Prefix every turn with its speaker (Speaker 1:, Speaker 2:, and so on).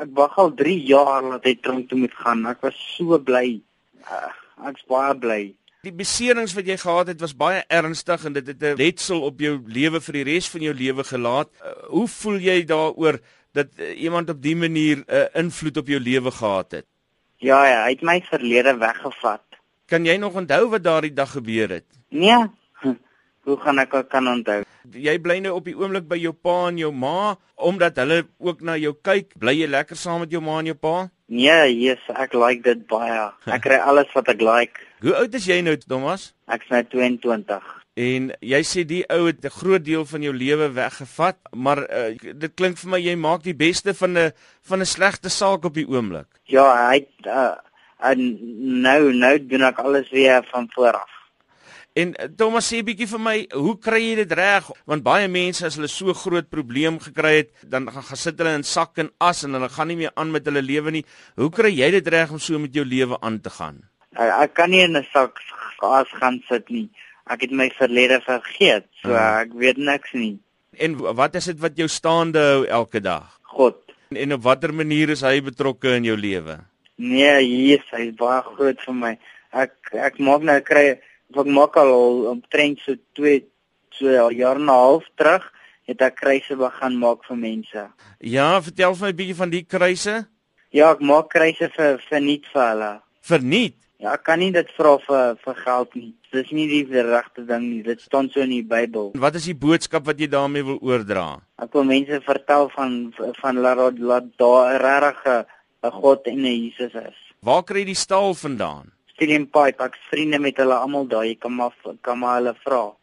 Speaker 1: Ek wag al 3 jaar dat hy tronk toe moet gaan. Ek was so bly. Uh, Ek's baie bly.
Speaker 2: Die beserings wat jy gehad het was baie ernstig en dit het 'n letsel op jou lewe vir die res van jou lewe gelaat. Uh, hoe voel jy daaroor dat uh, iemand op die manier 'n uh, invloed op jou lewe gehad het?
Speaker 1: Ja ja, hy het my verlede weggevat.
Speaker 2: Kan jy nog onthou wat daardie dag gebeur het?
Speaker 1: Nee. Hoe gaan ek dit kan onthou?
Speaker 2: Jy bly nou op die oomblik by jou pa en jou ma omdat hulle ook na jou kyk. Bly jy lekker saam met jou ma en jou pa?
Speaker 1: Nee, yes, ek like dit baie. Ek kry alles wat ek like.
Speaker 2: Hoe oud is jy nou, Thomas?
Speaker 1: Ek's nou 22.
Speaker 2: En jy sê die ou het 'n groot deel van jou lewe weggevat, maar uh, dit klink vir my jy maak die beste van 'n van 'n slegte saak op die oomblik.
Speaker 1: Ja, hy het, uh, en nou nou doen ek alles weer van voor af.
Speaker 2: En eh, Thomas sê bietjie vir my, hoe kry jy dit reg? Want baie mense as hulle so groot probleem gekry het, dan gaan gaan sit hulle in sak en as en hulle gaan nie meer aan met hulle lewe nie. Hoe kry jy dit reg om so met jou lewe aan te gaan?
Speaker 1: Ek, Eh, ek kan nie in 'n sak gas gaan sit nie. Ek het my verlede vergeet, so
Speaker 2: Ah.
Speaker 1: ek weet niks nie.
Speaker 2: En w- wat is dit wat jou staande hou elke dag?
Speaker 1: God.
Speaker 2: En, en op watter manier is hy betrokke in jou lewe?
Speaker 1: Nee, Jesus, hy's baie groot vir my. Ek ek maak nou kry ek maak al omtrent so 2 2 jaar en 'n half terug het ek kruise begin maak vir mense.
Speaker 2: Ja, vertel vir my bietjie van die kruise.
Speaker 1: Ja, ek maak kruise vir vir nie vir hulle.
Speaker 2: Verniet.
Speaker 1: Ja, ek kan nie dit vra vir vir geld nie. Dis nie die regte ding nie. Dit staan so in die Bybel.
Speaker 2: Wat is die boodskap wat jy daarmee wil oordra?
Speaker 1: Ek wil mense vertel van van laat laat daar 'n regte 'n God en 'n Jesus is.
Speaker 2: Waar kry jy die staal vandaan?
Speaker 1: Steelian Pipe, ek is vriende met hulle almal daar. Jy kan maar kan maar hulle vra.